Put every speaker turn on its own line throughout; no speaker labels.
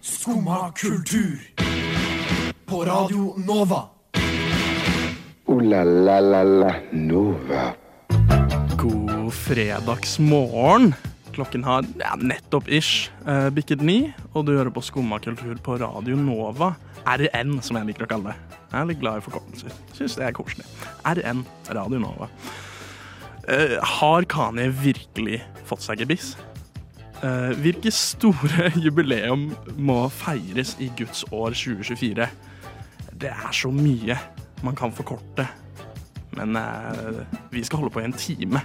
Skumma kultur. På Radio Nova.
Ooh la la la la Nova.
God fredagsmorgen. Klokken har ja, nettopp ish eh, bikket ni, og du hører på Skumma kultur på Radio Nova. RN, som jeg liker å kalle det. Jeg er litt glad i forkortelser. Syns det er koselig. RN, Radio Nova. Eh, har Kanye virkelig fått seg gebiss? Eh, hvilke store jubileum må feires i Guds år 2024? Det er så mye man kan forkorte. Men eh, vi skal holde på i en time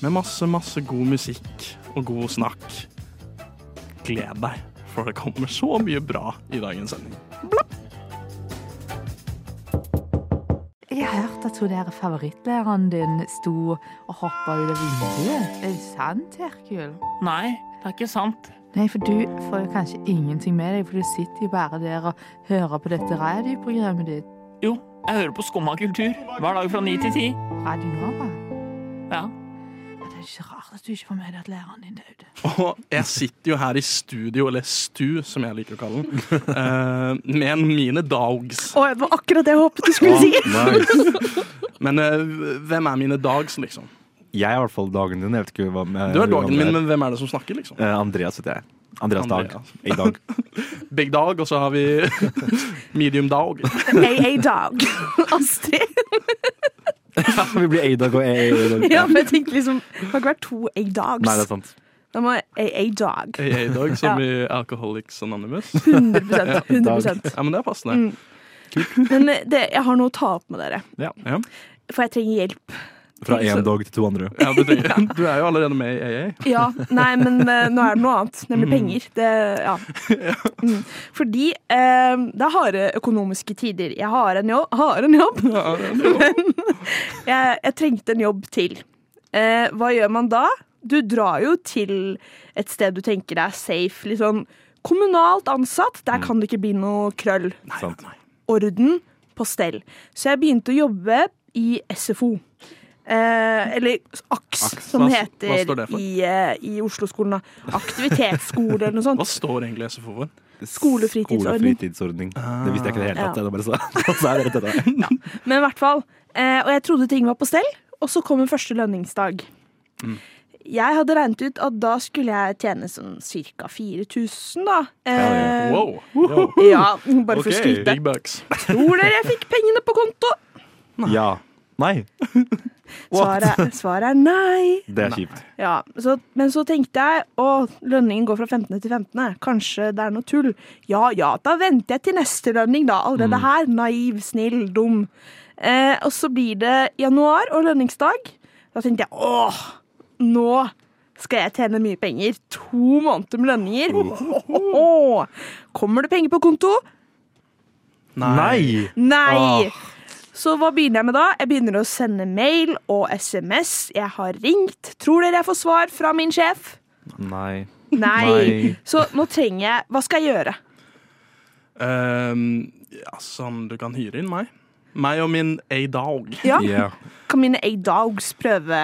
med masse, masse god musikk og god snakk. Gled deg, for det kommer så mye bra i dagens sending.
Jeg hørte at hun der favorittlæreren din sto og hoppa ut av vinduet. Er det sant, Herkul?
Nei, det er ikke sant.
Nei, for du får jo kanskje ingenting med deg, for du sitter jo bare der og hører på dette radioprogrammet ditt.
Jo, jeg hører på Skumma kultur hver dag fra ni til ti.
Radio Nova.
Ja.
Ja, Det er ikke rart at du ikke får med deg at læreren din døde.
Og jeg sitter jo her i studio, eller stu, som jeg liker å kalle den, eh, med mine dogs.
Og det var akkurat det jeg håpet du skulle si!
Men eh, hvem er mine dogs, liksom?
Jeg er i hvert fall dagen din. Jeg vet ikke hva med,
Du er dogen min, men hvem er det som snakker, liksom?
Eh, Andreas heter jeg. Andreas Dag.
Andreas.
I dag.
Big dog, og så har vi medium dog.
AA Dog. Astrid.
Vi blir A-Dag og AA-Dag.
Ja, men jeg tenkte liksom Det kan ikke være to AA Dogs.
Nei, det er sant.
Da må jeg AA Dog.
AA dog, som i Alcoholics Anonymous.
100, 100%.
Ja, men det er passende.
Men eh, det, jeg har noe å ta opp med dere,
Ja.
Ja.
for jeg trenger hjelp.
Fra én dag til to andre.
Ja, du, tenker, du er jo allerede med i AA.
Ja, Nei, men eh, nå er det noe annet, nemlig penger. Det, Mm. ja. Mm. Fordi eh, det er harde økonomiske tider. Jeg har en jobb, har en jobb.
Ja, det er jo-
jeg, jeg trengte en jobb til. Eh, hva gjør man da? Du drar jo til et sted du tenker er safe. Litt sånn kommunalt ansatt. Der kan det ikke bli noe krøll.
Sant.
Orden på stell. Så jeg begynte å jobbe i SFO. Eh, eller AKS, som
Hva-
det
hva står
heter
det for?
i, eh, i Oslo-skolen. da. Aktivitetsskole eller noe sånt.
Hva står egentlig SFO for?
Skolefritidsordning.
Skolefritidsordning. Det visste jeg ikke i det hele
Ja.
tatt. jeg. Det bare sa- så er det rett etter.
Men i hvert fall. Eh, og jeg trodde ting var på stell, og så kom en første lønningsdag.
Mm.
Jeg hadde regnet ut at da skulle jeg tjene sånn ca. 4000, da. Eh,
Wow.
Ja, bare for
Ok,
å skryte.
Big bucks.
Tror dere jeg fikk pengene på konto?
Ja. Nei. What?
Svaret, svaret er nei.
Det er kjipt.
Ja, så, Men så tenkte jeg å, lønningen går fra 15. til 15. Kanskje det er noe tull. Ja ja, da venter jeg til neste lønning, da. Allerede her. Naiv, snill, dum. Eh, og så blir det januar og lønningsdag. Da tenkte jeg åh, nå skal jeg tjene mye penger. To måneder med lønninger. Åh, Kommer det penger på konto?
Nei!
Nei!
Åh.
Så hva begynner jeg med da? Jeg begynner å sende mail og SMS. Jeg har ringt. Tror dere jeg får svar fra min sjef?
Nei.
Nei.
Nei.
Så nå trenger jeg Hva skal jeg gjøre?
Ehm, ja, sånn, du kan hyre inn meg. Meg og min A-dog.
Ja,
Ja.
Kan mine A-dogs prøve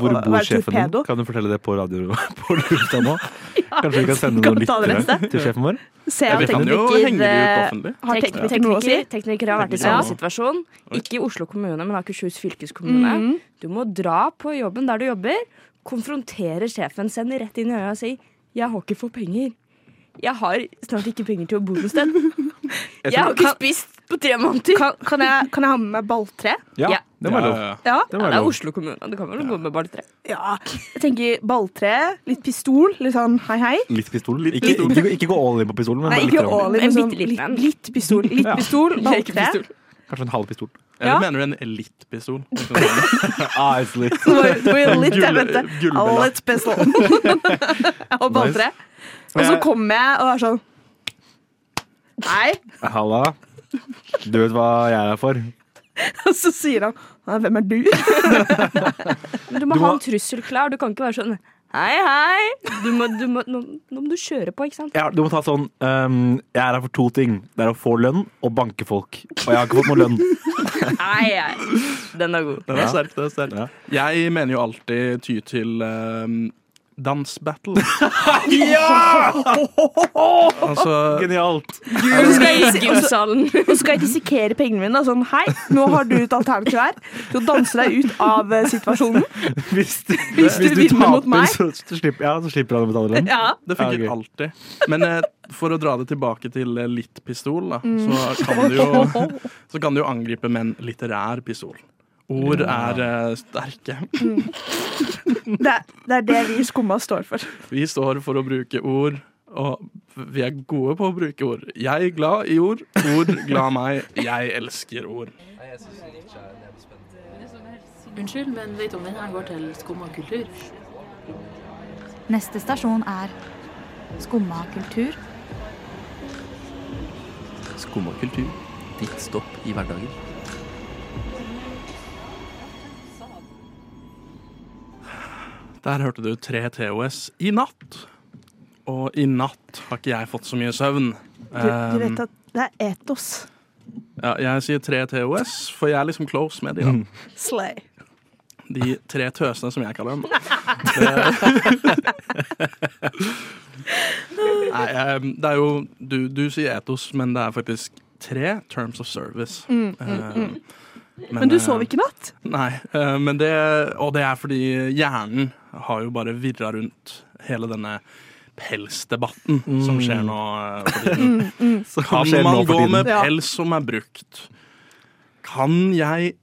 Hvor
å
bor
være
sjefen din?
torpedo?
Kan du fortelle det på radio på lufta nå? Kanskje vi kan sende
Kan
noen
du ta det
lyttere
neste?
til sjefen vår?
Se
Ja,
om
vi kan jo
teknikker,
henge
eh,
de ut offentlig.
Har
Tek-
teknikker noe å si?
tekniker, teknikere har vært i
Teknikere.
samme situasjon. Ikke i Oslo kommune, men Akershus fylkeskommune. Du må dra på jobben der du jobber, konfrontere sjefen, sende rett inn i øya og si 'jeg har ikke fått penger'. Jeg har snart ikke penger til å bo noe sted. Jeg har ikke spist på tre måneder.
Kan, kan, jeg, kan jeg ha med meg balltre?
Ja.
Det var
Ja,
lov.
ja, ja.
Ja.
Det
Ja,
var
det er
lov.
Oslo kommune. Du kan vel gå med balltre.
ja. Jeg tenker balltre, litt pistol, litt sånn hei, hei.
Litt pistol? Ikke,
pistol.
ikke, ikke gå all in på pistolen, men
Nei,
bare
ikke
litt grann.
all in, men
En
sånn
bitte liten
litt,
en.
litt pistol, litt
Ja.
pistol, balltre.
Lekepistol.
Kanskje en halv pistol.
Eller
Ja.
mener du en elitpistol?
Ah, it's lit.
Litt, jeg vet det.
Gullbelagt.
Litt pistol. Og balltre. Og så kommer jeg og er sånn Nei.
Halla. Du vet hva jeg er her for?
Og så sier han «Hæ, Hvem er du?
Men du må
Du
ha
må-
en trussel klar. Du kan ikke være sånn Hei, hei! Du må, du må, nå, nå må du kjøre på, ikke sant?
Ja, du må ta sånn ehm, Jeg er her for to ting. Det er å få lønn og banke folk. Og jeg har ikke fått noe lønn.
Nei, nei. Den er god.
Den er sterk, den er sterk.
Ja.
Jeg mener jo alltid ty til ehm, dansbattle. ja! Altså,
Genialt!
Og så skal jeg i gymsalen.
Og så skal jeg dissekere pengene mine. da, Sånn, hei, nå har du et alternativ her til å danse deg ut av eh, situasjonen.
Hvis du,
Hvis du vinner mot meg.
så, så, slipper, ja, så slipper han å betale lønn.
Ja.
Det funker
Ja, ok.
alltid. Men eh, for å dra det tilbake til eh, litt pistol, da,
Mm.
så, kan du jo, så kan du jo angripe med en litterær pistol. Ord er eh, sterke.
Det, er- det er det vi i Skumma står for.
Vi står for å bruke ord, og vi er gode på å bruke ord. Jeg er glad i ord, ord glad meg. Jeg elsker ord.
Unnskyld, men vet om denne går til skum og kultur?
Neste stasjon er Skumma kultur.
Skumma kultur. Ditt stopp i hverdagen.
Der hørte du tre TOS i natt. Og i natt har ikke jeg fått så mye søvn. Um,
Du, du vet at det er etos.
Ja, jeg sier tre TOS, for jeg er liksom close med de. da.
Slay.
De tre tøsene, som jeg kaller dem. Det- Nei, eh, det er jo du, du sier etos, men det er faktisk tre terms of service. Eh,
Mm, Men du
eh,
sov ikke i natt?
Nei, eh, men det, og det er fordi hjernen har jo bare virra rundt hele denne pelsdebatten som
Mm.
skjer nå. eh, for tiden.
Hva
Kan
skjer nå
man
for
gå
tiden?
med
Ja.
pels som er brukt? Kan jeg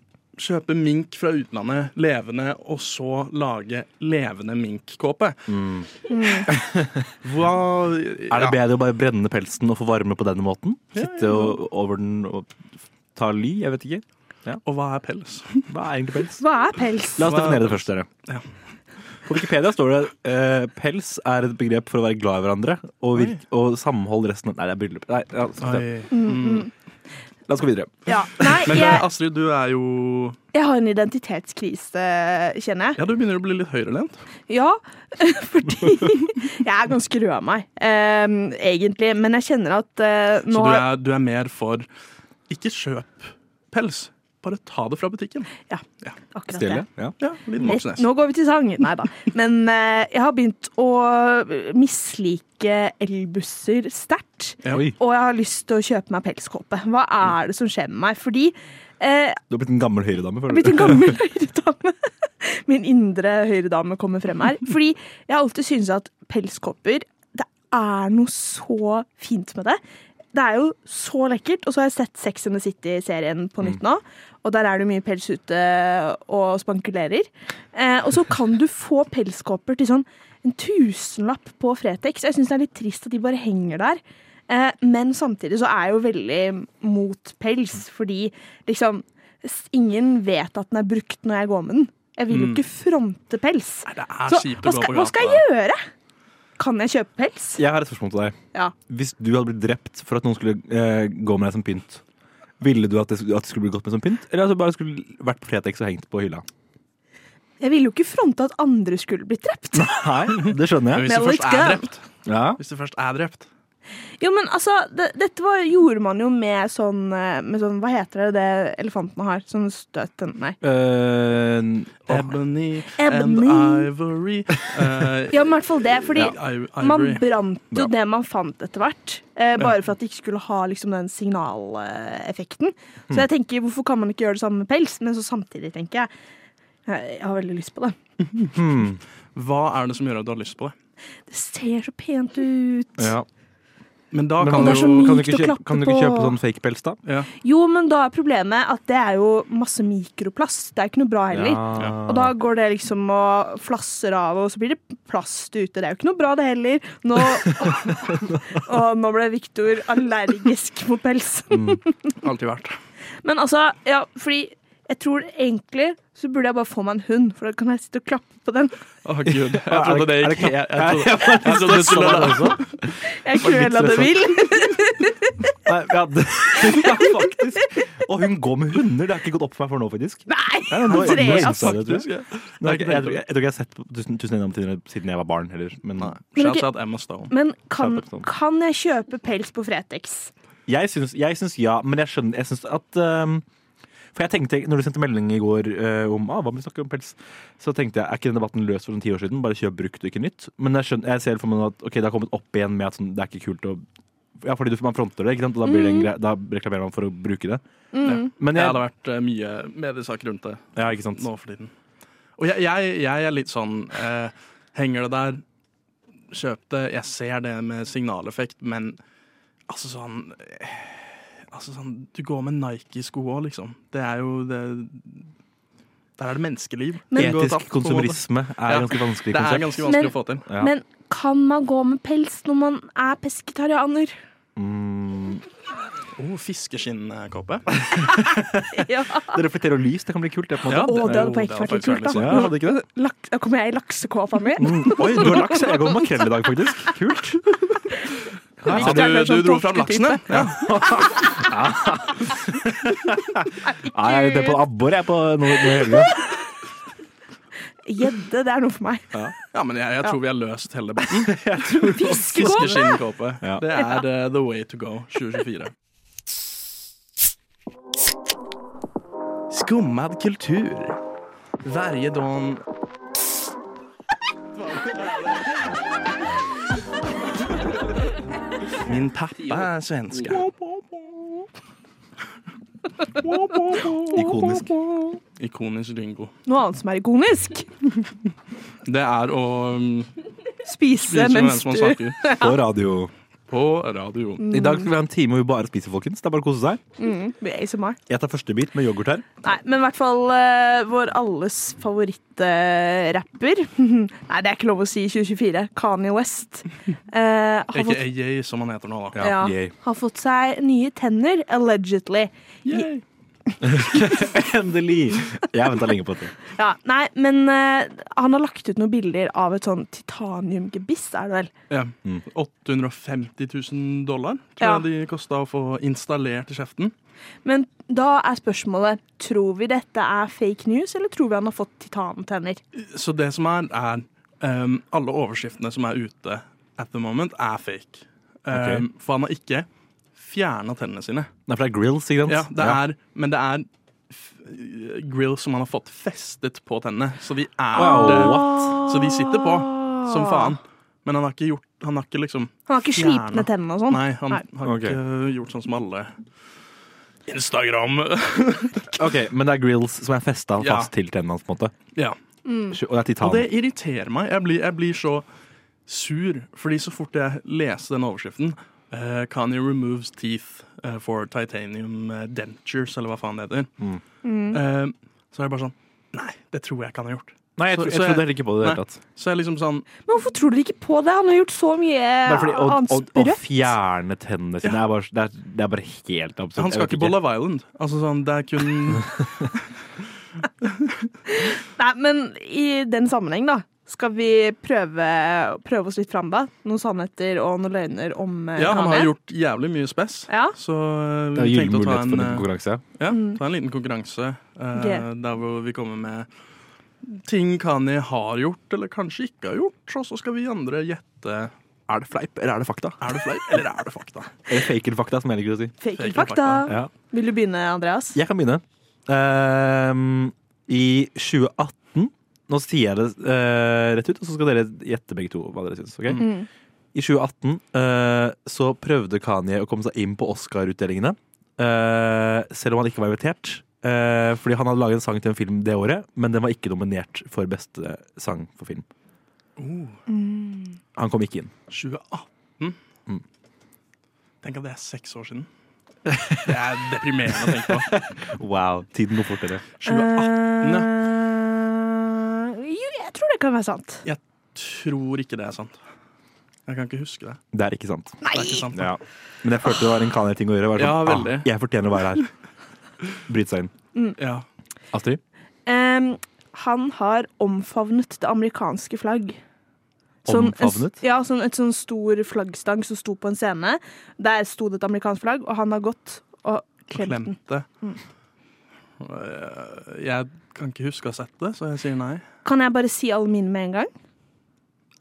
kjøpe mink fra utlandet levende, og så lage levende minkkåpe? Hva
Er det
ja,
bedre å bare brenne pelsen og få varme på denne måten? Sitte og, over den og ta ly? Jeg vet ikke.
Og hva er pels?
Hva er egentlig pels?
Hva er pels?
La oss
Hva-
definere det først, dere.
Ja.
På Wikipedia står det eh, pels er et begrep for å være glad i hverandre og, virk, og samhold resten av Nei, det er bryllup. Nei, ja, sånn sett.
Mm.
La oss gå videre.
Ja. Nei,
Men eh,
jeg,
Astrid, du er jo
jeg har en identitetskrise, kjenner jeg.
Ja, du begynner å bli litt høyrelent.
Ja, fordi jeg er ganske rød av meg, ehm, egentlig. Men jeg kjenner at eh, nå
Så du
har-
er, du er mer for ikke kjøp pels, bare ta det fra butikken.
akkurat det.
Stille. Ja.
Ja, Liden
Rett,
Moxnes.
nå går vi til sang. Nei da. Men eh, jeg har begynt å mislike elbusser sterkt.
Ja.
Oi,
Og jeg har lyst til å kjøpe meg pelskåpe. Hva er det som skjer med meg? Fordi eh,
du har blitt en gammel høyredame,
Jeg
føler
har blitt en gammel høyredame. Min indre høyredame kommer frem her. Fordi jeg har alltid syntes at pelskopper Det er noe så fint med det. Det er jo så lekkert. Og så har jeg sett Sex and the City-serien på nytt nå. Og der er det mye pels ute og spankulerer. Eh, og så kan du få pelskåper til sånn en tusenlapp på Fretex. Jeg syns det er litt trist at de bare henger der. Eh, men samtidig så er jeg jo veldig mot pels, fordi liksom s- Ingen vet at den er brukt når jeg går med den. Jeg vil jo ikke fronte pels.
Det Mm. er
Så
kjipt
hva
å gå
skal,
på
hva skal
gata.
jeg gjøre? Kan jeg kjøpe pels?
Jeg har et spørsmål til deg.
Ja.
Hvis du hadde blitt drept for at noen skulle eh, gå med deg som pynt, ville du at det, at det skulle bli godt med som pynt, eller at du bare skulle vært på Fretex og hengt på hylla?
Jeg ville jo ikke fronte at andre skulle blitt drept.
Nei, det skjønner
Hvis
jeg.
du
Mellow
først er
Scum.
drept.
Ja.
Hvis du først er drept.
Jo, men altså, det, Dette var, gjorde man jo med sånn, eh, med sånn Hva heter det det elefantene har? Sånn støt Nei.
Eh, åh,
Ebony,
Ebony.
and ivory. Eh,
Ja, men i hvert fall det. Fordi
i-
man
ivory.
brant jo
Bra.
det man fant etter hvert. Eh, bare for at det ikke skulle ha liksom, den signaleffekten. Så jeg tenker, hvorfor kan man ikke gjøre det samme med pels? Men så samtidig tenker jeg eh, Jeg har veldig lyst på det.
hmm.
Hva er det som gjør at du har lyst på det?
Det ser så pent ut.
ja.
Men da
Men
kan du
det er
jo
så mykt
kan du ikke
å
kjøpe,
klappe
kan du ikke
på.
kjøpe sånn fake pels, da?
ja.
Jo, men da er problemet at det er jo masse mikroplast. Det er ikke noe bra heller. Og da går det liksom og flasser av, og så blir det plast ute. Det er jo ikke noe bra, det heller. Nå, og nå ble Viktor allergisk mot pels.
alltid vært.
Men altså, ja, fordi jeg tror egentlig så burde jeg bare få meg en hund, for da kan jeg sitte og klappe på den.
Å, gud. Jeg
Er
trodde det
det- er
gikk
det knapp-
Jeg jeg trodde jeg trodde det skulle
Jeg
var litt
kvela det vill.
Nei, ja, det, ja, faktisk. Og hun går med hunder. Det har ikke gått opp for meg for nå, faktisk.
Nei!
Nei, nå- nå
Andreas.
innser jeg det, tror jeg.
Faktisk, ja.
Nå, jeg, jeg, tror- jeg tror ikke jeg har sett på tusen, tusen gjennom tidligere siden jeg var barn heller. Men
Men ok-
Shout out Emma Stone.
Men kan, kan jeg kjøpe pels på Fretex?
jeg syns, jeg syns ja. Men jeg skjønner jeg syns at um, For jeg tenkte, når du sendte melding i går eh, om ah, hva om vi snakker om pels, så tenkte jeg er ikke den debatten løst for sånn ti år siden? Bare kjøp brukt og ikke nytt. Men jeg, skjønner, jeg ser for meg nå at ok, det har kommet opp igjen med at sånn, det er ikke kult å ja, fordi du, man fronter det, ikke sant? og da, blir det en gre da reklamerer man for å bruke det.
Mm.
Men
Det
jeg,
hadde vært eh, mye mediesaker rundt det
Ja, ikke sant?
nå for tiden. Og jeg, jeg, jeg er litt sånn eh, Henger det der, kjøp det. Jeg ser det med signaleffekt, men altså sånn eh, Altså sånn, Du går med Nike-sko òg, liksom. Det er jo det Der er det menneskeliv.
Men-
som går
Etisk
tapt, på en måte.
konsumerisme er ganske vanskelig
Det
konsept.
er ganske vanskelig
Men-
å få til.
Men kan man gå med pels når man er pesketarianer?
Oh, fiskeskinnkåpe.
det reflekterer jo lys, det kan bli kult. Det, på en måte.
Å, det hadde
det
på ekte
hadde
vært
faktisk vært
litt kult, da.
litt sånn. Ja, hadde ikke det?
Lak da kommer jeg i laksekåpa mi.
Mm. Oi, du har laks. Jeg går med makrell i dag, faktisk. Kult.
Ja, så du, du dro fram laksen, du? Ja.
Nei, jeg er ute på abbor, jeg, på noe, noe i helga.
Gjedde, det er noe for meg.
Ja. men jeg, jeg tror vi har løst hele debatten.
Fiskekåpe!
Fiskeskinnnkåpe.
Ja.
Det er eh, the way to go 2024. Skummad kultur. Varje dag Min pappa er svenska.
Ikonisk.
Ikonisk Ringo.
Noe annet som er ikonisk.
Det er å mm,
Spise
vise
mens
man
du
snakker.
På radio.
På radio.
I dag skal vi ha en time hvor vi bare spiser, folkens. Det er bare å kose seg.
mm, blir ASMR.
Jeg tar første bit med yoghurt her.
Nei, men i hvert fall eh, vår alles favorittrapper. Nei, det er ikke lov å si i 2024. Kanye West. Eh, har,
Ikke
fått,
AJ, som han heter nå, da.
ja,
Yay.
har fått seg nye tenner, allegedly.
Yay.
Endelig. Jeg har venta lenge på dette.
Ja, nei, men eh, han har lagt ut noen bilder av et sånn titaniumgebiss, er det vel?
Ja. 850 000 dollar tror
Ja.
jeg de kosta å få installert i kjeften.
Men da er spørsmålet tror vi dette er fake news, eller tror vi han har fått titantenner?
Så det som er, er ehm, alle overskriftene som er ute at the moment, er fake. Ehm, For han har ikke fjerna tennene sine.
Nei, for det er grills, ikke sant?
Ja, det er, Men det er f- grill som han har fått festet på tennene, så de er
Wow,
det.
what?
Så de sitter på som faen. Men han har ikke gjort Han har ikke liksom
Han har ikke
fjernet-
slipne tennene og sånn?
Nei, han har
Ok.
ikke gjort sånn som alle Instagram
Ok, Men det er grills som er festa
Ja.
fast til tennene hans, på en måte.
Ja.
Mm.
Og det er titan.
Og det irriterer meg. Jeg blir, jeg blir så sur, fordi så fort jeg leser den overskriften eh, Kanye removes teeth eh, for titanium eh, dentures, eller hva faen det heter.
Mm.
Eh, så er det bare sånn Nei, det tror jeg ikke han har gjort.
Nei, jeg,
Så- så
tro- jeg
jeg-
trodde heller ikke på det i det
Nei.
hele tatt.
Så jeg er liksom sånn
Men hvorfor tror dere ikke på det? Han har gjort så mye
Bare fordi å,
annet
å, å
sprøtt.
fjerne tennene sine er, bare, det er, det er bare helt absurd.
Han skal
Jeg vet
ikke på Love Island. Altså sånn, det er kun
Nei, men i den sammenheng, da. Skal vi prøve, prøve oss litt fram, da? Noen sannheter og noen løgner om eh,
Ja, han har
Kanye?
gjort jævlig mye spess.
Ja.
Så
Det
eh,
er
vi
gyllen
tenkte å ta
mulighet
en,
for en
eh,
konkurranse.
Ja, ta en liten konkurranse eh,
Ok.
der hvor vi kommer med ting Kanye har gjort, eller kanskje ikke har gjort, og så skal vi andre gjette
Er det fleip, eller er det fakta?
er det fleip eller er det fakta.
Eller fake eller fakta, som jeg liker å si.
Fake
Fake
eller
eller
fakta?
Ja.
Vil du begynne, Andreas?
Jeg kan begynne. Ehm, I 2018 Nå sier jeg det eh, rett ut, og så skal dere gjette begge to hva dere syns. ok? I 2018 eh, så prøvde Kanye å komme seg inn på Oscar-utdelingene. eh, selv om han ikke var invitert. eh, fordi han hadde laget en sang til en film det året, men den var ikke nominert for beste sang for film. Han kom ikke inn.
2018. Tenk at det er seks år siden. Det er deprimerende å tenke på.
Wow, Tiden går fortere.
2018, ja.
Eh, jo, jeg tror det kan være sant.
Jeg tror ikke det er sant. Jeg kan ikke huske det.
Det er ikke sant.
Det er ikke sant.
Ja. Men jeg følte det var en Kanye-ting å gjøre. Bare
Ja,
sånn,
veldig.
ah, jeg fortjener å være her. Bryte seg inn.
Ja.
Astrid?
Em, han har omfavnet det amerikanske flagg.
Omfavnet?
En, ja, sånn, et sånn stor flaggstang som sto på en scene. Der sto det et amerikansk flagg, og han har gått og klemt den.
Klemte. eh, Jeg kan ikke huske å ha sett det, så jeg sier nei.
Kan jeg bare si alle mine med en gang?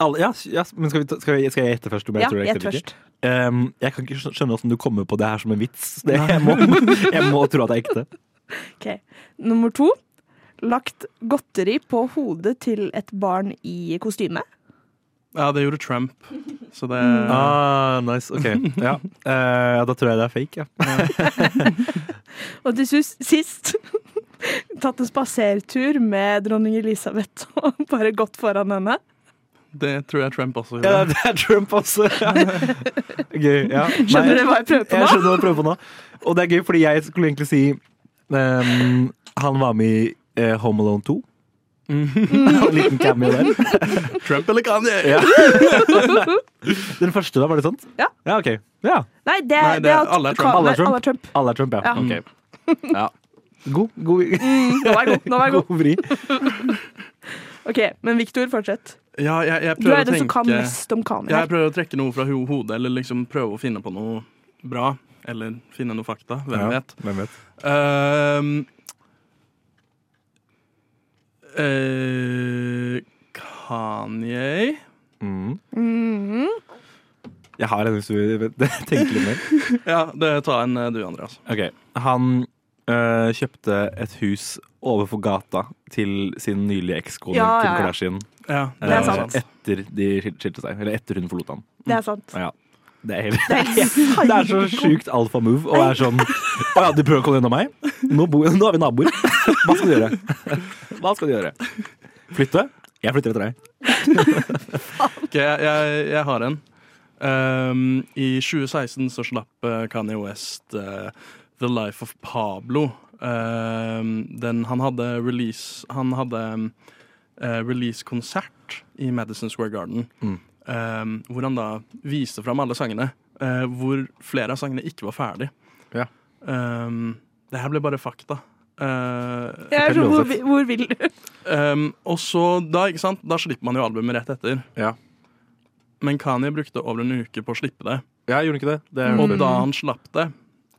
Alle, ja, ja, men skal, vi ta, skal, jeg, skal jeg gjette først? om
Ja,
Jeg, tror jeg,
gjett
gjetter riktig?
først.
Ehm, jeg kan ikke skjønne hvordan du kommer på det her som en vits. Det, jeg, må, jeg må tro at det er ekte.
Ok. Nummer to. Lagt godteri på hodet til et barn i kostyme.
Ja, det gjorde Trump, så det
Ah, nice. Ok. Ja. Eh, ja, da tror jeg det er fake, ja.
Og til sist, sist tatt en spasertur med dronning Elisabeth og bare gått foran henne.
Det tror jeg Trump også
Ja, det er Trump også. Ja. Gøy. Ja. Nei,
Skjønner dere hva jeg prøver på nå?
Jeg skjønner hva jeg prøver på nå. Og det er gøy, fordi jeg skulle egentlig si ehm, Han var med i eh, Home Alone 2.
Mm.
en liten cameo der.
Trump eller Kanye?
Ja. Den første, da? Var det sant?
Ja.
ja ok. Ja.
Nei, det,
Nei, det
det
er
at-
alle er Trump.
Ka-
Alle er
Alle
Trump.
er Trump.
Alle er Trump, ja.
Ja.
Ok. ja. God, god,
Mm, nå var jeg god. Nå var jeg god.
god vri.
OK, men Victor, fortsett.
Ja, jeg, jeg
Du
prøver
er den
å
som
tenke
kan mest om kaner.
Ja, Jeg prøver å trekke noe fra ho hodet, eller liksom prøve å finne på noe bra. Eller finne noe fakta. Hvem
Ja,
vet.
hvem vet.
Ehm, eh, Kanye
Jeg har en hvis du vil tenke litt mer.
Ja, det tar en eh, du, Andreas.
Ok, Han øh, kjøpte et hus overfor gata til sin nylige ekskone
Ja,
Kim
ja, ja.
Kardashian.
Ja,
det er
øh,
sant.
Etter de skilte seg. Eller etter hun forlot han.
Det er sant.
Ja, det er, helt,
Det er helt
det er så sjukt alfamove. Og er sånn Å ja, du prøver å komme gjennom meg? Nå, bo, nå er vi naboer. Hva skal du gjøre? Hva skal du gjøre? Flytte? Jeg flytter etter deg.
Ok, jeg, jeg, jeg har en. Ehm, I 2016 så slapp eh, Kanye West eh, The Life of Pablo. Ehm, den, han hadde release Han hadde um, eh, release-konsert i Madison Square Garden.
Mm.
ehm, hvor han da viste fram alle sangene. eh, hvor flere av sangene ikke var ferdig.
Ja.
Ehm, det her ble bare fakta. Eh,
Jeg er sånn, hvor, vi- hvor vil du?
Ehm, og så, da, ikke sant? da slipper man jo albumet rett etter. Men Kanye brukte over en uke på å slippe det.
Ja, gjorde ikke det? det
Og da han slapp det,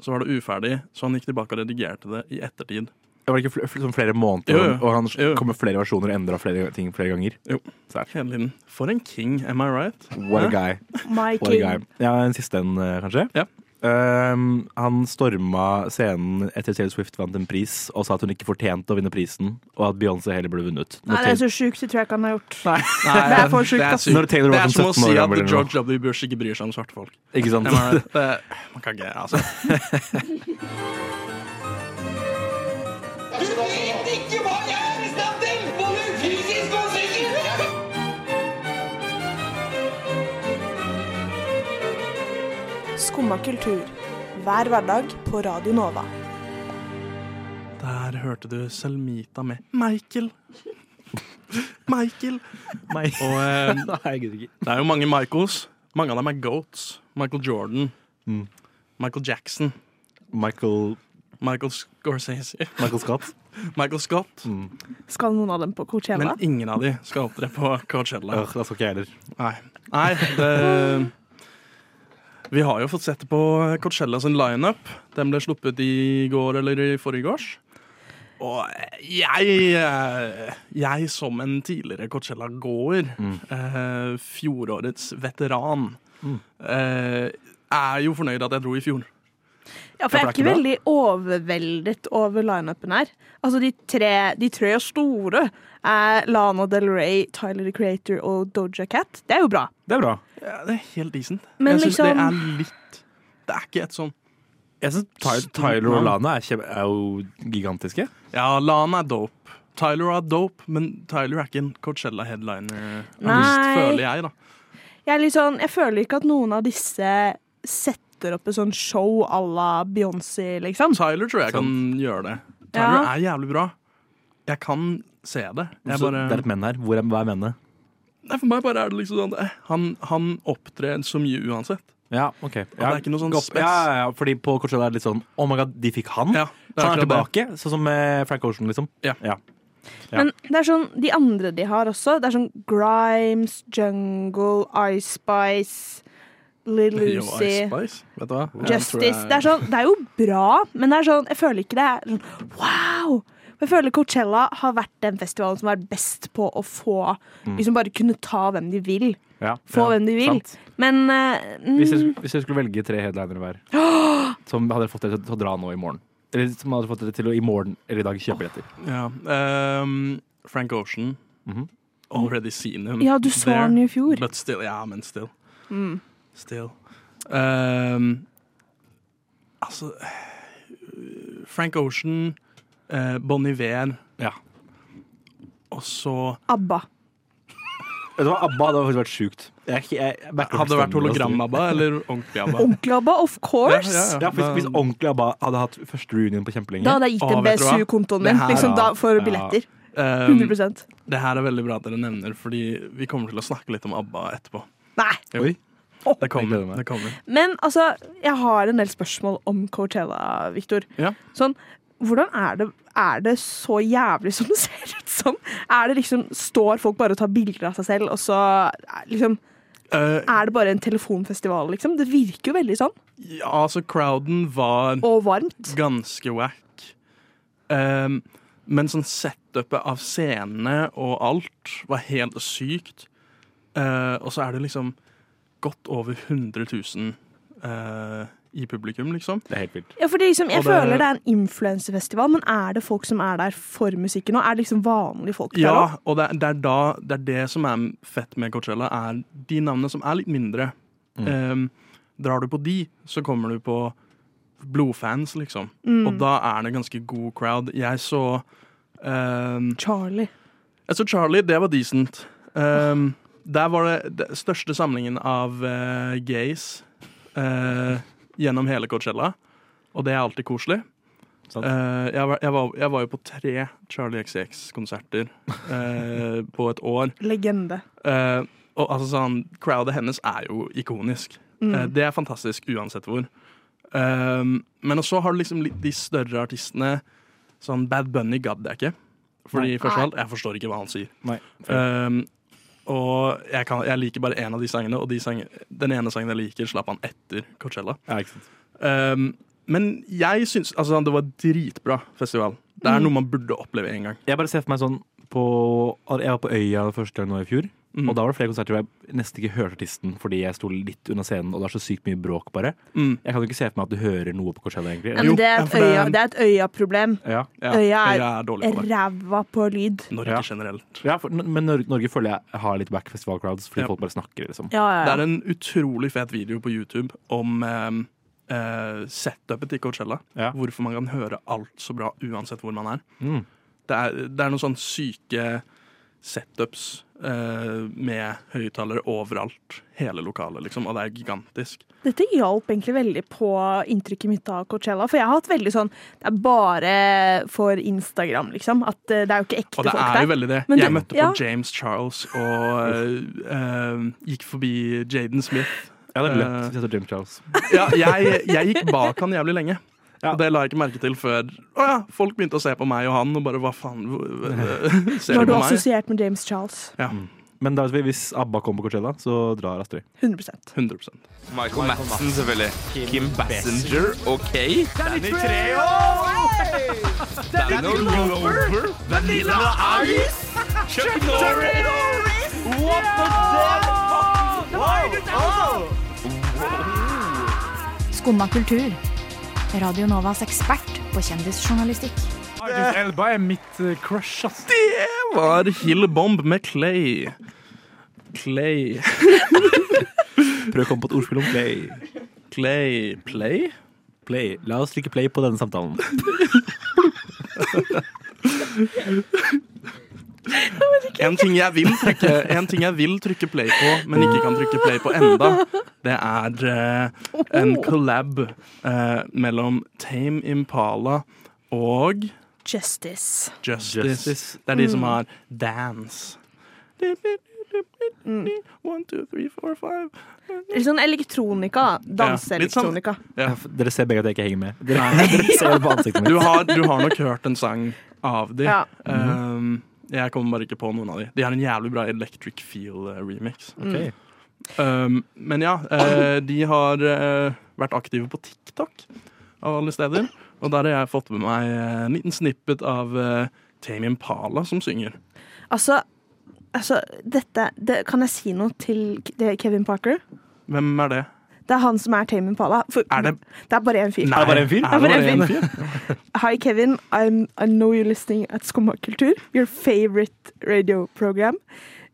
så var det uferdig, så han gikk tilbake og redigerte det i ettertid.
Det var ikke fl fl- sånn flere måneder,
Jo, jo.
og han kom med flere versjoner og endra flere ting flere ganger.
Jo. Hele tiden. For en king, am I right?
What a
Hæ?
guy.
My
What a
king.
guy. Ja, en siste en, eh, kanskje.
Ja.
Ehm, han storma scenen etter Taylor Swift vant en pris og sa at hun ikke fortjente å vinne prisen, og at Beyoncé heller burde vunnet. Når
Nei, det er
Taylor-
så sjukt. Det tror jeg ikke han har gjort.
Nei,
det er for sjukt,
det er
ass.
sykt.
Når Taylor
Det
var
er som
sånn
å
17 år
si at
gammel eller noe. Mm.
George W. Bush ikke bryr seg om svarte folk.
Ikke sant?
Am I right? Det, man kan ikke, altså.
Du vet ikke hva jeg er i stand til! Både fysisk og psykisk!
Skumma kultur. Hver hverdag på Radio Nova.
Der hørte du Selmita med Michael. Michael. Og, eh, det er jo mange Michaels. Mange av dem er goats. Michael Jordan.
Mm.
Michael Jackson.
Michael
Michael Scorsese.
Michael Scott.
Michael Scott.
Mm.
Skal noen av dem på Coachella?
Men ingen av de skal opptre på Coachella.
Øh, da skal ikke jeg heller.
Nei. Nei, det Vi har jo fått sett det på Coachella sin lineup. Den ble sluppet i går eller i forgårs. Og jeg eh, Jeg som en tidligere Coachella-gåer,
Mm.
eh, fjorårets veteran,
Mm.
eh, er jo fornøyd at jeg dro i fjor.
Ja, for jeg er ikke
bra.
veldig overveldet over lineupen her. Altså, de tre, de tre store er Lana Del Rey, Tyler the Creator og Doja Cat. Det er jo bra.
Det er bra.
Ja, det er helt decent.
Men
jeg syns det
liksom-
er litt Det er ikke et sånn
Jeg synes Ty Tyler og Lana er, kjempe- er jo gigantiske.
Ja, Lana er dope. Tyler er dope, men Tyler er ikke en Coachella-headliner.
Nei.
Føler jeg, da.
Jeg, er litt sånn, jeg føler ikke at noen av disse setter opp et sånn show à la Beyoncé, liksom.
Tyler tror jeg kan gjøre det. Tyler
Ja.
er jævlig bra. Jeg kan se det. Jeg
Så
bare,
Det er et menn her. Hvor er, hva er mennet?
nei, for meg bare er det liksom sånn eh, Han, han opptrer så mye uansett.
Ja, ok. Ja,
det er ikke noe sånn
godt.
spes.
Ja, ja, ja, fordi på Coachella er det litt sånn Oh my god, de fikk han?
Ja, det er
han er
akkurat
tilbake, sånn som eh, Frank Ocean, liksom?
Ja.
Ja.
Men det er sånn, de andre de har også, det er sånn Grimes, Jungle, Ice Spice, Little
Jo,
Lucy.
Ice Spice. Vet du hva? Jeg tror
Justice.
jeg-
Det er, sånn, det er jo bra, men det er sånn, jeg føler ikke det er sånn wow! Jeg føler Coachella har vært den festivalen som har vært best på å få
Mm.
Liksom bare kunne ta hvem de vil.
Ja,
Få
ja,
hvem de vil.
sant.
Men eh, mm,
Hvis dere skulle, hvis dere skulle velge tre headlinere hver,
Åh!
som hadde dere fått dere til å dra nå i morgen Eller som hadde fått dere til å i morgen eller i dag kjøpe billetter.
Ja. ehm, Frank Ocean.
Mhm.
Already seen him.
Ja, du så
there,
han jo i fjor.
But still, ja, men still.
Mm.
Still. Ehm, altså Frank Ocean, eh, Bon Iver Og så
ABBA.
Vet du hva, ABBA hadde faktisk vært sjukt. Jeg, jeg, jeg backer
Hadde det vært
fullstendig med oss.
hologram-ABBA eller ordentlig ABBA?
Ordentlig ABBA, of course!
Ja, ja, ja. Hvis, hvis ordentlig ABBA hadde hatt første reunion på kjempelenge
Da hadde jeg gitt
Å,
dem
vet du hva?
BSU-kontoen
Det
min
her-
liksom, da, for
Ja.
billetter.
Ehm,
100
Det her er veldig bra at dere nevner, fordi vi kommer til å snakke litt om ABBA etterpå.
Nei!
Jo. Det kommer. Det kommer.
Men altså, jeg har en del spørsmål om Coachella, Victor.
Ja.
Sånn, hvordan er det, er det så jævlig som det ser ut som? Er det liksom, Står folk bare og tar bilder av seg selv, og så er- liksom
Eh,
Er det bare en telefonfestival, liksom? Det virker jo veldig sånn.
Ja, altså, crowden var
Og varmt.
Ganske wack. Ehm, men sånn setupet av scenene og alt var helt sykt. Eh, og så er det liksom godt over 100 000 eh, i publikum, liksom.
Det er helt vilt.
Ja, fordi liksom, Jeg
Og det-
føler det er en influensefestival, men er det folk som er der for musikken nå? Er det liksom vanlige folk der
Ja,
òg?
og det, er- det, er da, det er det som er fett med Coachella, er de navnene som er litt mindre. Ehm, drar du på de, så kommer du på blodfans, liksom.
Mm.
Og da er det ganske god crowd. Jeg så ehm,
Charlie.
Jeg så Charlie, det var decent. Ehm, der var det den største samlingen av eh, gays eh, gjennom hele Coachella, og det er alltid koselig. Eh, jeg, var, jeg, var, jeg var jo på tre Charlie XCX-konserter eh, på et år.
Legende.
Eh, og altså sånn, Crowdet hennes er jo ikonisk.
Mm.
Eh, det er fantastisk uansett hvor. Um, men så har du liksom litt de større artistene. Sånn Bad Bunny gadd jeg ikke. Fordi
Nei.
først og alt, Jeg forstår ikke hva han sier.
Nei.
Um, og jeg, kan, jeg liker bare én av de sangene, og de sang, den ene sangen jeg liker, slapp han etter Coachella. Um, men jeg syns altså, det var dritbra festival. Det er
Mm.
noe man burde oppleve en gang.
Jeg bare ser for meg sånn på, Jeg var på Øya første gang nå i fjor.
Mm.
Og da var det flere konserter hvor jeg nesten ikke hørte artisten fordi jeg sto litt unna scenen, og det er så sykt mye bråk, bare.
Mm.
Jeg kan jo ikke se for meg at du hører noe på Coachella, egentlig.
Ja, men det, er et øya, det er et øya-problem.
Ja.
Øya er ræva på lyd.
Ja. Ja, for, men Norge, Norge føler jeg har litt back festival crowds, fordi
Ja.
folk bare snakker, liksom.
Ja, ja, ja.
Det er en utrolig fet video på YouTube om um, uh, setupet til Coachella. Hvorfor man kan høre alt så bra uansett hvor man er.
Mm.
Det er, det er noen sånn syke setups eh, med høyttalere overalt. Hele lokalet, liksom. Og det er gigantisk.
Dette hjalp egentlig veldig på inntrykket mitt av Coachella. For jeg har hatt veldig sånn Det er bare for Instagram, liksom. At eh, det er jo ikke ekte
Og det
folk
er
der.
jo veldig det.
Men
Jeg møtte på
ja.
James Charles og eh, eh, gikk forbi Jaden Smith.
Jeg hadde løpt hvis jeg så James Charles.
Ja, jeg, jeg gikk bak han jævlig lenge. Og det la jeg ikke merke til før Å ja, folk begynte å se på meg og han, og bare hva faen hva- hva- Ser
Når
du
du
på
er
meg?
assosiert med James Charles.
Ja.
Men da, hvis ABBA kommer på Coachella, så drar Astrid.
100
100
Michael Madsen, selvfølgelig. Kim Bassinger, OK. Danny Treho! Danny Glover! Vanilla Ice! Chuck Norris! What the
Skumma kultur. Radio Novas ekspert på kjendisjournalistikk.
Marcus Elba er mitt eh, crush, ass.
Det var Hillbomb med Clay. Clay.
Prøv å komme på et ordspill om play.
Clay Play?
Play. La oss trykke play på denne samtalen.
En ting jeg vil trykke, en ting jeg vil trykke play på, men ikke kan trykke play på enda, det er eh, en collab eh, mellom Tame Impala og
Justice.
Justice. Det er de som
Mm.
har Dance.
Mm.
One, two, three, four, five.
Litt sånn elektronika. da. Danseelektronika.
Ja.
Dere ser begge at jeg ikke henger med. Dere,
Nei.
dere ser det på ansiktet mitt.
Du har, du har nok hørt en sang av de.
Ja.
Um, jeg kommer bare ikke på noen av de. De har en jævlig bra Electric eh, Feel-remix.
Ok.
Um, men ja, eh, de har eh, vært aktive på TikTok av alle steder. Og der har jeg fått med meg eh, en liten snippet av uh, Tame Impala som synger.
Altså, altså dette det, Kan jeg si noe til Ke- det- Kevin Parker?
Hvem er det?
Det er han som er Tame Impala. For, det? er bare én fyr.
Nei, er det bare en fyr?
Det er bare en
Er det bare
fyr. Hi, Kevin. I'm, I know you're listening at Skummakultur, your favorite radio program.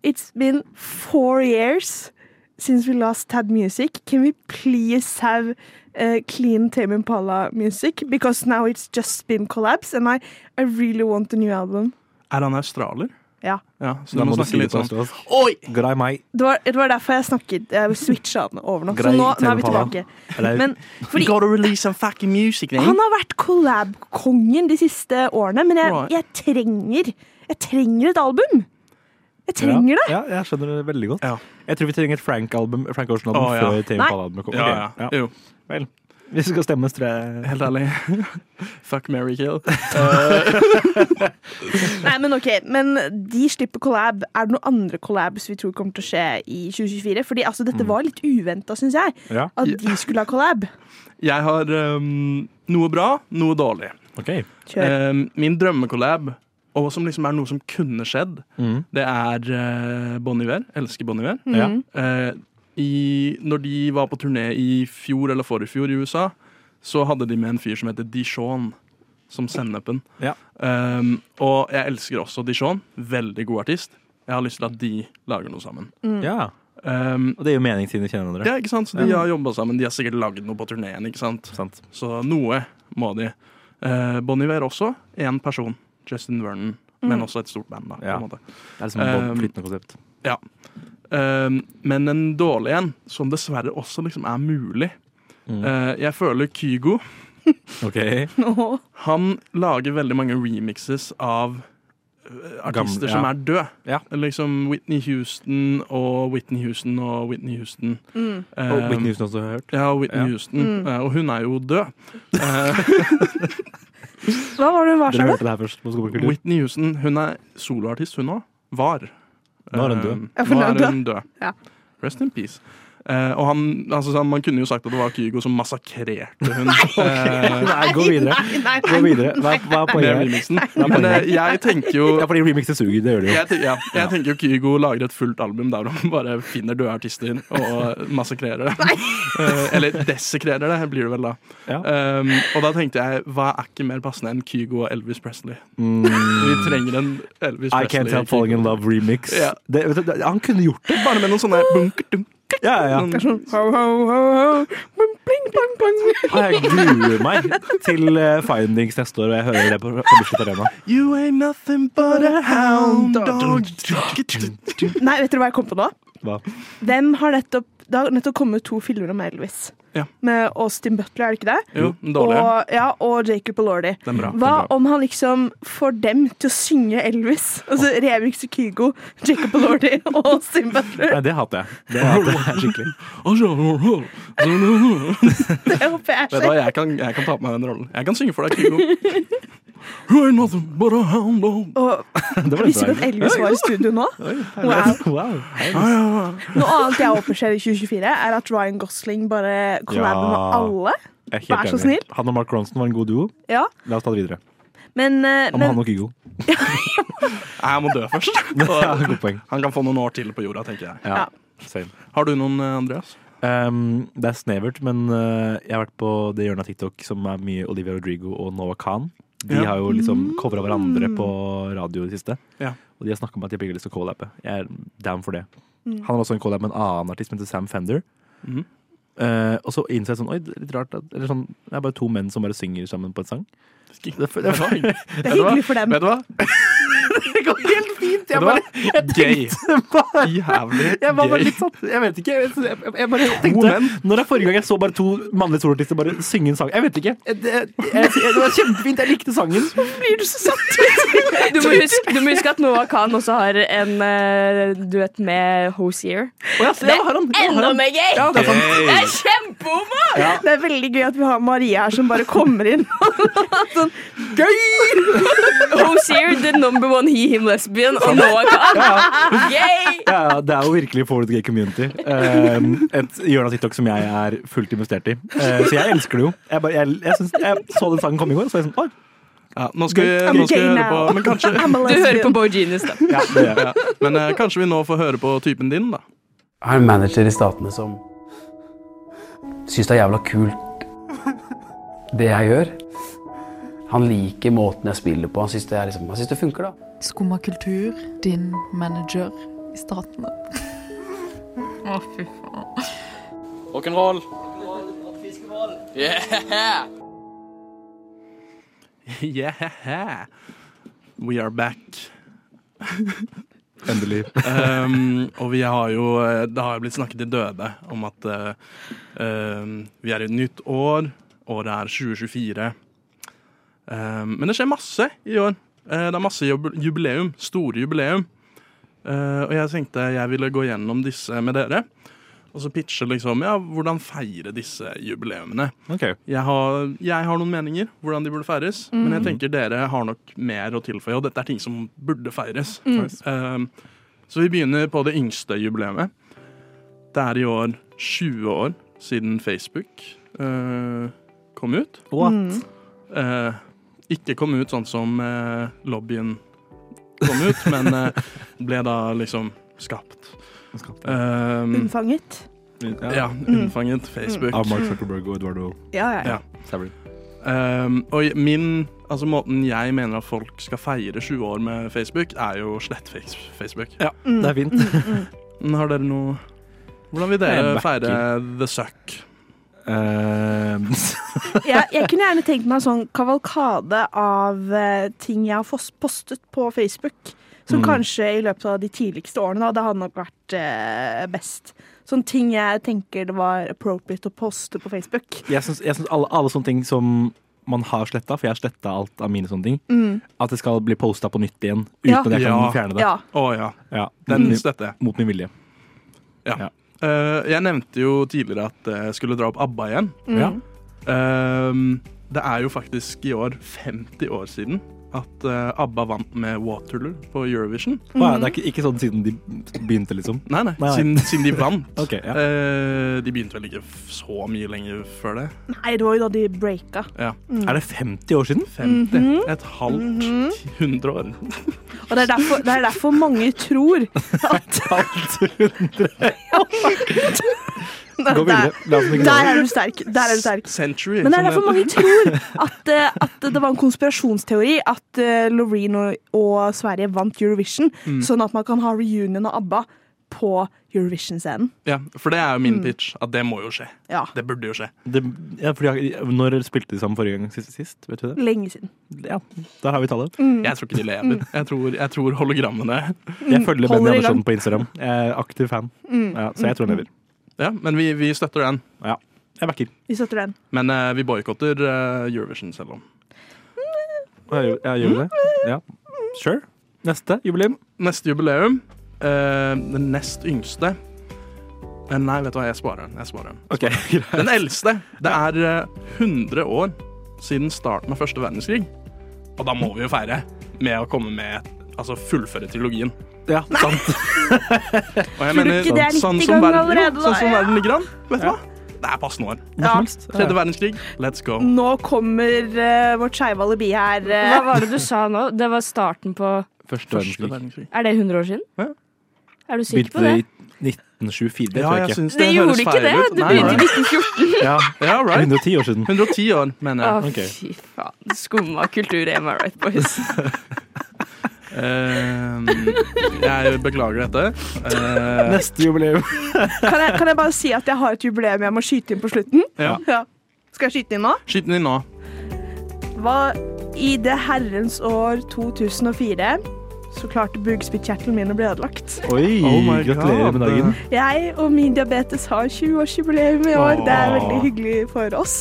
It's been four years since we last had music. Can we please have uh, clean Tame Impala music? Because now it's just been collabs, and I, I really want a new album.
Er han australier?
Ja.
Ja, så
Da
du må
må du si
snakke litt
det
sånn
til oss.
Oi!
Grei meg.
Det var, det var derfor jeg snakket Jeg switcha den over nå. Så
Grei
nå, nå er vi
Tame Impala.
tilbake.
Eller-
Men, fordi,
Gotta release some fucking music, then.
han har vært collab-kongen de siste årene, men jeg,
Right.
jeg trenger Jeg trenger et album! Jeg trenger det!
Ja, ja, jeg skjønner det veldig godt. Jeg tror vi trenger et Frank-album Frank Ocean-album
Å, ja.
før Tame
Nei.
Impala-albumet kommer.
Ja, ja. Jo.
Vel. Hvis det skal stemme, så tror jeg
Helt ærlig. Fuck, marry, kill.
Nei, men ok, men de slipper collab. Er det noen andre collabs vi tror kommer til å skje i 2024? Fordi altså, dette
Mm.
var litt uventa, syns jeg,
Ja.
at de skulle ha collab.
Jeg har ehm, noe bra, noe dårlig.
Kjør.
Ehm, min drømmekollab, og som liksom er noe som kunne skjedd,
Mhm.
det er eh, Bon Iver. Elsker Bon Iver.
Ja.
Eh, i, når de var på turné i fjor eller forrige fjor i USA, så hadde de med en fyr som heter Dijon, som sennepen.
Ja.
Ehm, og jeg elsker også Dijon. Veldig god artist. Jeg har lyst til at de lager noe sammen. Ehm,
Mm. Ja. og det gir jo mening siden de kjenner hverandre.
Ja, ikke sant? Så de
Ja.
har jobba sammen. De har sikkert lagd noe på turneen. ikke sant? Så noe må de. Eh, bon Iver også. Én person. Justin Vernon. Men
Mm.
også et stort band. da,
Ja.
på en måte.
Det er liksom et
Eh,
flytende konsept.
Ja. Eh, men en dårlig en, som dessverre også liksom er mulig.
Mm.
Eh, jeg føler Kygo
Ok.
um,
Han lager veldig mange remixes av eh, artister
Gamle-
som
ja.
er døde. Liksom Whitney Houston og Whitney Houston og Whitney Houston.
Mm.
Eh,
Og Whitney Houston også har jeg hørt.
Ja, og Whitney
Ja.
Houston.
Mm.
Eh, og hun er jo død. Eh,
Hva var det hun var,
Dere
sa
hørte det her først på Skomakultur.
Whitney Houston hun er soloartist, hun òg. Var.
Nå er hun død.
Eh,
Ja, for
Nå
nå er
er
hun
hun
død.
død.
Ja.
Rest in peace. Eh, og han, altså, sånn, Man kunne jo sagt at det var Kygo som massakrerte hun. Eh,
Nei, gå videre. Gå videre. Hva, hva er
Med
poenget?
remixen.
Hva er
Men
poenget?
eh, jeg tenker jo
Ja, fordi remixet suger. Det gjør det jo.
jeg, tenker, ja, jeg tenker jo Kygo lager et fullt album der han bare finner døde artister og massakrerer det. Eh, Eller desekrerer det, blir det vel da. Um, og da tenkte jeg, hva er ikke mer passende enn Kygo og Elvis Presley?
Mm.
Vi trenger en Elvis
I Can't
Presley.
Help Falling In Love remix.
Ja.
Det, vet du, det- han kunne gjort det.
Bare med noen sånne bunker.
Ja, ja.
Noen-
Ho, ho, ho, ho. Bling, bling, bling, bling.
Og jeg gruer meg til eh, Findings neste år, og jeg hører det på, på Bislett Arena.
You ain't nothing but a hound dog.
Nei, vet dere hva jeg kom på nå?
Hva?
Hvem har nettopp Det har nettopp kommet to filmer om Elvis.
Ja.
Med Austin Butler, er det ikke det?
Jo, den dårlige.
Og, ja, og Jacob Elordi.
Den er bra, den er
Hva
bra.
om han liksom får dem til å synge Elvis? Altså Remix Kygo, Jacob Elordi og Austin Butler.
Nei, det hater jeg. Det hater jeg skikkelig.
Det håper jeg
Vet du hva, jeg kan, jeg kan ta på meg den rollen. Jeg kan synge for deg, Kygo. You ain't nothing but a hound dog.
Og visste du at Elvis var i studio nå? Wow. Noe annet jeg håper skjer i 2024, er at Ryan Gosling bare collaber med
Ja.
alle.
Jeg er helt
Vær så
enig.
snill.
Han og Mark Ronson var en god duo.
Ja,
La oss ta det videre.
men, eh,
Han,
men
han og Kygo.
Nei, jeg må dø først.
Ja, godt poeng.
Han kan få noen år til på jorda, tenker jeg.
Ja. Same.
Har du noen, eh, Andreas?
Um, det er snevert, men uh, jeg har vært på det hjørnet av TikTok som er mye Olivia Rodrigo og Noah Khan. De
Ja. Mm.
har jo liksom covra hverandre på radio i det siste.
Ja.
Og de har snakka om at de begge har lyst til å collappe. Jeg er down for det.
Mm.
Han har også en collab med en annen artist som heter Sam Fender.
Mhm.
Eh, og så innså jeg sånn Oi, det er litt rart at, eller sånn, Det er bare to menn som bare synger sammen på en sang.
Det,
det-
var hyggelig.
Det er hyggelig
for dem.
Vet du hva?
Det går helt fint! Jeg
Vet
bare
du hva? Gay.
bare,
Jævlig
jeg var bare
gay.
litt sånn Jeg vet ikke. Jeg, jeg, jeg bare tenkte Når det er forrige gang jeg så bare to mannlige soloartister bare synge en sang Jeg vet ikke. Jeg, Eh, det, jeg, jeg, det var kjempefint. Jeg likte sangen.
Blir du så satt
Du må, huske, du må huske at Noah Khan også har en eh, duett med Hosier.
ja, så
det
ja, har
er
han, ja, har
enda
han.
mer gøy!
Ja, det er sant.
Det er kjempehomo!
Ja.
Det er veldig gøy at vi har Maria her som bare kommer inn. sånn, gøy!
Hosier, the number one he-him lesbian, og Noah Khan. Gay!
Sånn. Ja, ja, det er jo virkelig for the gay community. Um, et hjørne av TikTok som jeg er fullt investert i. Uh, så jeg elsker det jo. Jeg, bare, jeg, jeg, syns- jeg så den sangen komme i går, og så var jeg sånn Oi,
Ja, nå skal vi,
I'm
nå skal vi
gay
høre på
now.
Men kanskje
I'm a Du hører lesbian. på
Boy Genius, da.
Ja, det gjør jeg.
Men eh, kanskje vi nå får høre på typen din, da.
Jeg har en manager i Statene som syns det er jævla kult, det jeg gjør. Han liker måten jeg spiller på. Han syns det, er liksom, han synes det funker, da.
Skumma kultur, din manager i staten. Å, fy faen.
Rock'n'roll.
Yeah!
Yeah! We are back.
Endelig.
um, og vi har jo eh, Det har jo blitt snakket til døde om at eh, um, vi er i et nytt år. Året er 2024. Um, men det skjer masse i år. Eh, det er masse jub- jubileum. Store jubileum. Eh, og jeg tenkte jeg ville gå gjennom disse med dere. Og så pitche liksom ja, hvordan feire disse jubileumene. Jeg, har, jeg har noen meninger hvordan de burde feires, men jeg
Mm.
tenker dere har nok mer å tilføye. Og dette er ting som burde feires.
Mm.
Ehm, så vi begynner på det yngste jubileet. Det er i år 20 år siden Facebook eh, kom ut.
What? Mm.
Eh, ikke kom ut sånn som eh, lobbyen kom ut, men eh, ble da liksom skapt. Ehm,
Unnfanget.
ja,
Mm.
unnfanget Facebook.
Av Mark Zuckerberg og Eduardo.
Ja, ja, ja.
Savry.
Ehm, og min, altså måten jeg mener at folk skal feire 20 år med Facebook, er jo slett face- Facebook. Ja,
Mm, det er fint. mm,
Har dere noe Hvordan vil
Nei,
dere
jeg backer.
feire the suck?
jeg, jeg kunne gjerne tenkt meg en sånn kavalkade av eh, ting jeg har fos- postet på Facebook. Som
Mm.
kanskje i løpet av de tidligste årene, da, det hadde nok vært eh, best. Sånne ting jeg tenker det var appropriate å poste på Facebook.
Jeg syns, jeg syns alle, alle sånne ting som man har sletta, for jeg har sletta alt av mine sånne ting,
Mm.
at det skal bli posta på nytt igjen uten
Ja.
at jeg kan
Ja.
fjerne det.
Ja.
Å, ja. Den
Mot min-
støtter jeg.
Mot min vilje.
Mm. Ja. Eh, jeg nevnte jo tidligere at eh, jeg skulle dra opp ABBA igjen.
Mm. Ja.
Ehm, det er jo faktisk i år 50 år siden at eh, ABBA vant med Waterloo på Eurovision.
Å ja, det er ikke, ikke sånn siden de begynte, liksom?
Nei, nei. Siden, siden de vant.
Ok, ja.
Eh, de begynte vel ikke f- så mye lenger før det.
Nei, det var jo da de breaka.
Ja.
Mm.
Er det 50 år siden?
50.
Mhm.
Et halvt
Mhm.
hundre år.
Og det er derfor, det er derfor mange tror at
Gå videre. La oss ikke
Der er du sterk. Der er du sterk.
Century.
Men det er
som
derfor mange
heter.
tror at, eh, at det var en konspirasjonsteori at eh, Loreen og, og Sverige vant Eurovision,
Mm.
sånn at man kan ha reunion av ABBA på Eurovision-scenen.
Ja, for det er jo min
Mm.
pitch, at det må jo skje.
Ja.
Det burde jo skje.
Det, ja, fordi, når spilte de sammen forrige gang? Sist? sist vet du det?
Lenge siden.
Ja, Der har vi tallet.
Mm.
Jeg tror ikke de lever.
Mm.
Jeg tror, jeg tror hologrammene
Jeg følger
Holder
Benny
i gang.
Andersson på Instagram. Jeg er aktiv fan.
Mm.
Ja, så jeg tror han lever.
Ja, men vi, vi støtter den.
Ja, jeg backer.
Vi støtter den.
Men eh, vi boikotter eh, Eurovision selv om.
Jeg, jeg gjør det.
Mm.
Ja. Sure. Neste jubileum.
Neste jubileum. eh, den nest yngste. Eh, Nei, vet du hva, jeg sparer den. Jeg sparer den.
Ok,
Den eldste. Det er eh, 100 år siden starten av første verdenskrig. Og da må vi jo feire med å komme med Altså fullføre trilogien.
Ja, sant.
Og jeg
Tror du ikke det er litt i gang
verden, jo, sånn
allerede, da?
som
Ja.
verden ligger an. Vet du hva? Det er passende år.
Ja. Mm.
Tredje verdenskrig, let's go.
Nå kommer eh, vårt skeive alibi her. eh.
Hva var det du sa nå? Det var starten på
Første verdenskrig.
Er det 100 år siden? Er du sikker på
Begynte i
det?
1924. Det
Ja,
tror jeg
jeg
ikke.
syns det Det gjorde høres ikke feil det, ut. det Nei, begynte i nei.
1914.
Ja,
ja right.
110 år siden.
110 år, mener
Å,
jeg.
fy faen. Skumma kultur, am I right, boys?
Eh, jeg beklager dette. Eh,
Neste jubileum.
Eh, Kan jeg, kan jeg bare si at jeg har et jubileum jeg må skyte inn på slutten?
Ja.
Skal jeg skyte inn nå?
Skyt den inn nå.
Hva I det herrens år 2004 så klarte bugspyttkjertelen min å bli ødelagt.
Oi,
Oh my
gratulerer
God.
med dagen.
Jeg og min diabetes har 20-årsjubileum i år. Det er
Åh.
veldig hyggelig for oss.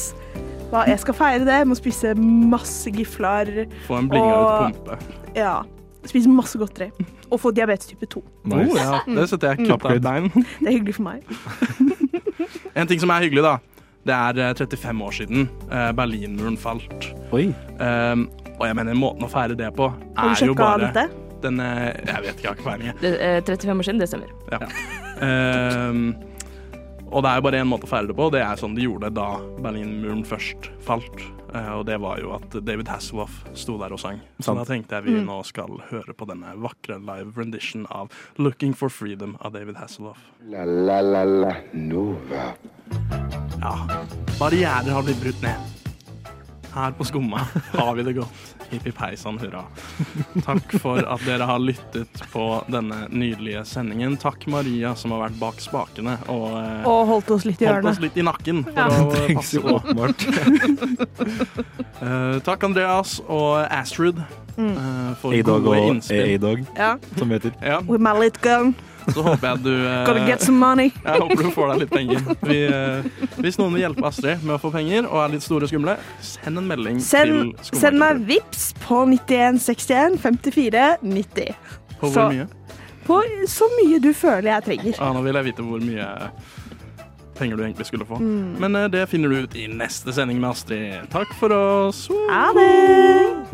Hva, jeg skal feire det. Jeg må spise masse giflar.
Få en blinga
og-
ut pumpe.
Ja. Spise masse godteri. Og få diabetes type 2.
Nice. Oh, ja. Det setter
Mm.
jeg kutt av bein.
Det er hyggelig for meg.
En ting som er hyggelig, da. Det er eh, 35 år siden eh, Berlinmuren falt. Um, og jeg mener, måten å feire det på
Har
er
du
jo
sjekket
bare
dette?
den eh,
eh,
Jeg vet ikke, jeg har ikke peiling. jeg.
Det, eh, 35 år siden, det stemmer.
Ja. Um, Ehm, Og det er jo bare én måte å feire det på, og det er sånn de gjorde det da Berlinmuren først falt. Eh, Og det var jo at David Hasselhoff sto der og sang. Så
Sant.
da tenkte jeg vi
Mm.
nå skal høre på denne vakre live rendition av 'Looking for Freedom' av David Hasselhoff.
La la la la Nova.
Ja, barrierer har blitt brutt ned. Her på Skumma har vi det godt. Hipp hipp heisan, hurra. Takk for at dere har lyttet på denne nydelige sendingen. Takk Maria som har vært bak spakene og, eh,
Og holdt oss litt i
holdt
hjørnet.
oss litt i nakken. For
Ja.
å
Det
passe
trengs jo
på. Eh, takk Andreas og Astrid
Mm.
eh, for
A-Dog
gode
og
innspill.
A-Dog,
Ja.
som heter.
Ja,
With my lit gun.
så håper jeg du eh,
Gotta get some money.
Jeg håper du får deg litt penger. Vi, eh, hvis noen vil hjelpe Astrid med å få penger og er litt store og skumle, send en melding til
Send, send
Skumma.
meg vips på 9161 54 90.
På hvor
Så-
mye?
På så mye du føler jeg trenger.
Ah, nå vil jeg vite hvor mye penger du egentlig skulle få.
Mm.
Men eh, det finner du ut i neste sending med Astrid. Takk for oss.
Ha det!